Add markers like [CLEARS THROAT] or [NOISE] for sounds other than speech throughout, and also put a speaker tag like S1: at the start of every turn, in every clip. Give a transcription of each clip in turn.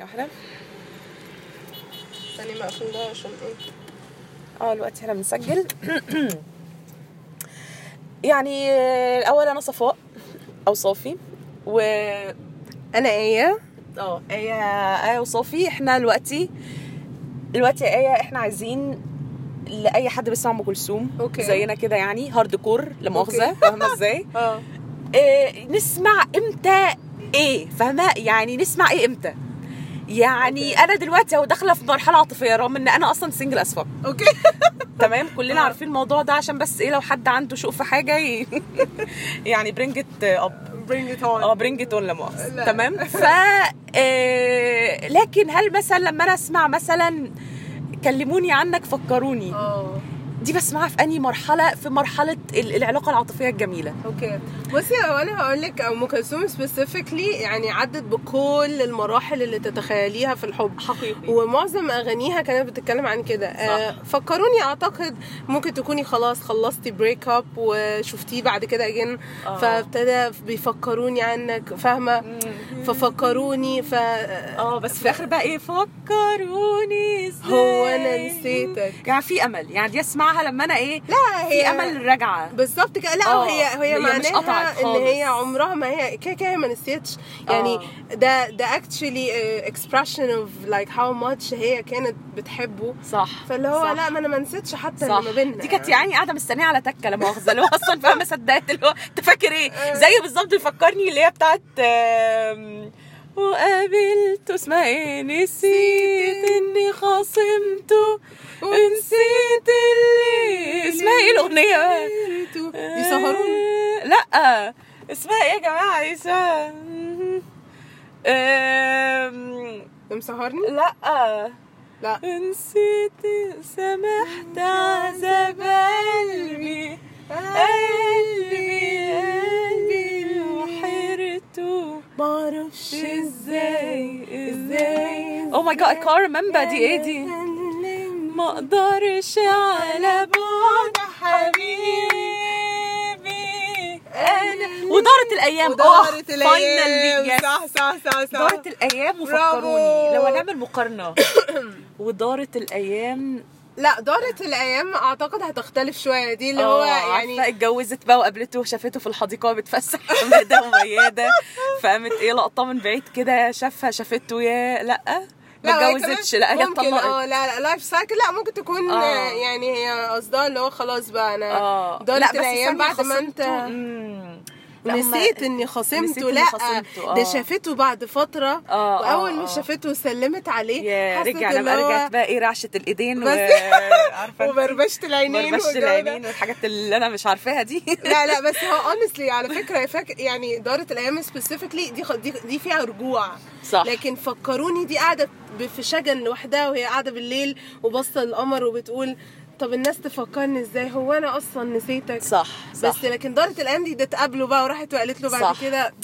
S1: واحدة
S2: ثاني يعني ما اقفل ده عشان ايه
S1: اه دلوقتي احنا بنسجل [CLEARS THROAT] يعني آه، الاول انا صفاء او صافي و
S2: انا ايه
S1: اه ايه ايه وصافي احنا دلوقتي دلوقتي يا ايه احنا عايزين لاي حد بيسمع ام كلثوم
S2: أوكي.
S1: زينا كده يعني هارد كور لا مؤاخذه
S2: أوكي.
S1: فاهمه ازاي
S2: اه
S1: إيه نسمع امتى ايه فاهمه يعني نسمع ايه امتى يعني
S2: أوكي.
S1: انا دلوقتي اهو داخله في مرحله عاطفيه رغم ان انا اصلا سنجل اسفك
S2: اوكي [LAUGHS]
S1: تمام كلنا
S2: آه.
S1: عارفين الموضوع ده عشان بس ايه لو حد عنده شوق في حاجه ي... [LAUGHS] يعني برينج ات اب
S2: bring it
S1: اه
S2: on
S1: برينج ات اون
S2: لا. [LAUGHS]
S1: تمام ف آه، لكن هل مثلا لما انا اسمع مثلا كلموني عنك فكروني
S2: اه
S1: دي بسمعها في انهي مرحله في مرحله ال- العلاقه العاطفيه الجميله
S2: اوكي بصي اولا هقول لك ام كلثوم سبيسيفيكلي يعني عدت بكل المراحل اللي تتخيليها في الحب
S1: حقيقي
S2: ومعظم اغانيها كانت بتتكلم عن كده آه فكروني اعتقد ممكن تكوني خلاص خلصتي بريك اب وشفتيه بعد كده اجين
S1: آه.
S2: فابتدى بيفكروني عنك فاهمه ففكروني ف آه،
S1: اه بس في الاخر بقى ايه فكروني ازاي
S2: هو أنا نسيتك.
S1: يعني في امل يعني دي اسمعها لما انا ايه
S2: لا
S1: في امل الرجعه
S2: بالظبط كده لا
S1: آه،
S2: هي هي
S1: هي مش قطعت
S2: معناها ان
S1: خالص.
S2: هي عمرها ما هي كده كده هي ما نسيتش يعني
S1: آه.
S2: ده ده actually uh, expression of like how much هي كانت بتحبه
S1: صح
S2: فاللي هو
S1: صح.
S2: لا ما انا ما نسيتش حتى
S1: صح
S2: اللي ما بيننا
S1: دي كانت يعني قاعده مستنيه على تكه لا مؤاخذه اللي هو اصلا فاهمه صدقت اللي هو انت فاكر
S2: آه.
S1: ايه زي بالظبط بيفكرني اللي هي بتاعت آم، وقابلته اسمها ايه نسيت اني خاصمته ونسيت اللي اسمها ايه الاغنيه
S2: [LAUGHS]
S1: بقى؟
S2: يسهرون
S1: لا اسمها ايه آه، يا جماعه اسمها آه، آم،
S2: مسهرني
S1: لا [LAUGHS]
S2: لا
S1: نسيت سمحت عذاب قلبي قلبي قلبي وحيرته
S2: ما اعرفش
S1: ازاي
S2: ازاي
S1: او ماي جاد اي كان ريمبر دي ايه دي ما اقدرش على بعد حبيبي انا ودارت الايام
S2: ودارت
S1: آه، finally،
S2: الايام
S1: yes.
S2: صح صح صح صح
S1: دارت الايام
S2: برافو.
S1: وفكروني لو هنعمل [COUGHS] مقارنه ودارت الايام
S2: لا دارت الايام اعتقد هتختلف شويه دي اللي هو
S1: هو
S2: يعني
S1: عارفه آه، اتجوزت بقى وقابلته وشافته في الحديقه
S2: [LAUGHS]
S1: بتفسح مهدة ومياده فقامت ايه لقطه من بعيد كده شافها شافته يا لا ما
S2: لا، وهي
S1: اتجوزتش
S2: كمان
S1: لا هي
S2: ممكن
S1: اتطلقت
S2: اه لا لا لايف سايكل لا ممكن تكون
S1: آه.
S2: آه، يعني هي قصدها اللي هو خلاص بقى انا
S1: اه لا،
S2: دارت
S1: بس
S2: الايام
S1: استني،
S2: بعد ما انت
S1: خصمته. مم. لا، هما-
S2: نسيت اني خصمته
S1: نسيت إني
S2: لا
S1: خصمته،
S2: ده
S1: آه.
S2: شافته بعد فتره
S1: آه،
S2: واول
S1: آه،
S2: ما
S1: آه.
S2: شافته وسلمت عليه
S1: يا
S2: حست
S1: رجع انا
S2: إيه، اللي
S1: بقى
S2: هو
S1: رجعت بقى ايه رعشه الايدين و
S2: بس-
S1: [LAUGHS] عارفة أنت؟
S2: وبربشت العينين
S1: بربشة
S2: والجو ده.
S1: العينين والحاجات اللي انا مش عارفاها دي [LAUGHS]
S2: لا لا بس هو اونستلي على فكره فاك يعني دارت الايام سبيسيفيكلي دي خ- دي دي فيها رجوع
S1: صح.
S2: لكن فكروني دي قاعده ب- في شجن لوحدها وهي قاعده بالليل وباصه للقمر وبتقول طب الناس تفكرني ازاي هو انا اصلا نسيتك
S1: صح صح
S2: بس لكن دارت الايام دي ده اتقابلوا بقى وراحت وقالت له بعد
S1: صح.
S2: كده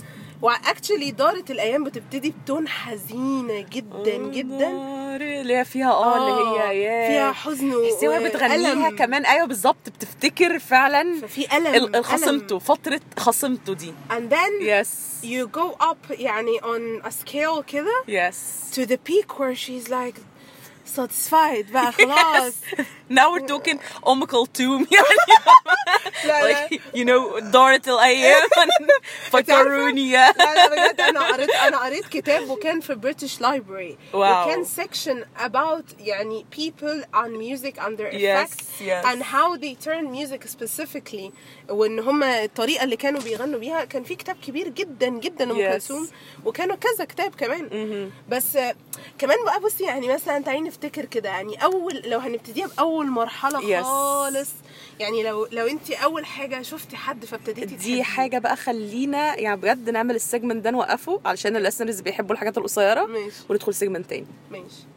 S2: واكشلي دارت الايام بتبتدي بتون حزينه جدا جدا
S1: نار اللي هي فيها اه اللي هي ياه
S2: آه، فيها حزن
S1: تحسي وهي بتغنيها
S2: وألم.
S1: كمان ايوه بالظبط بتفتكر فعلا
S2: ففي الم
S1: ال-
S2: ألم.
S1: خصمته فتره خصمته دي
S2: and then
S1: يس
S2: you go up يعني on a scale كده
S1: يس
S2: to the peak where she's like satisfied بقى خلاص
S1: now we're talking omical tomb [LAUGHS] يعني
S2: لا لا
S1: like you know دارت [LAUGHS] الايام فكرونيا
S2: لا لا بجد انا قريت انا قريت كتاب وكان في British Library
S1: واو.
S2: وكان section about يعني people on music and their
S1: Yes,
S2: effect
S1: yes.
S2: and how they turn music specifically وان هم الطريقه اللي كانوا بيغنوا بيها كان في كتاب كبير جدا جدا ام
S1: Yes.
S2: كلثوم وكانوا كذا كتاب كمان بس آه، كمان بقى بصي يعني مثلا تعالي نفتكر كده يعني اول لو هنبتديها باول مرحله
S1: Yes.
S2: خالص يعني لو لو انت اول حاجه شفتي حد فابتديتي
S1: دي
S2: تحبيه.
S1: حاجه بقى خلينا يعني بجد نعمل السيجمنت ده نوقفه علشان اللسنرز بيحبوا الحاجات القصيره
S2: ماشي.
S1: وندخل سيجمنت تاني
S2: ماشي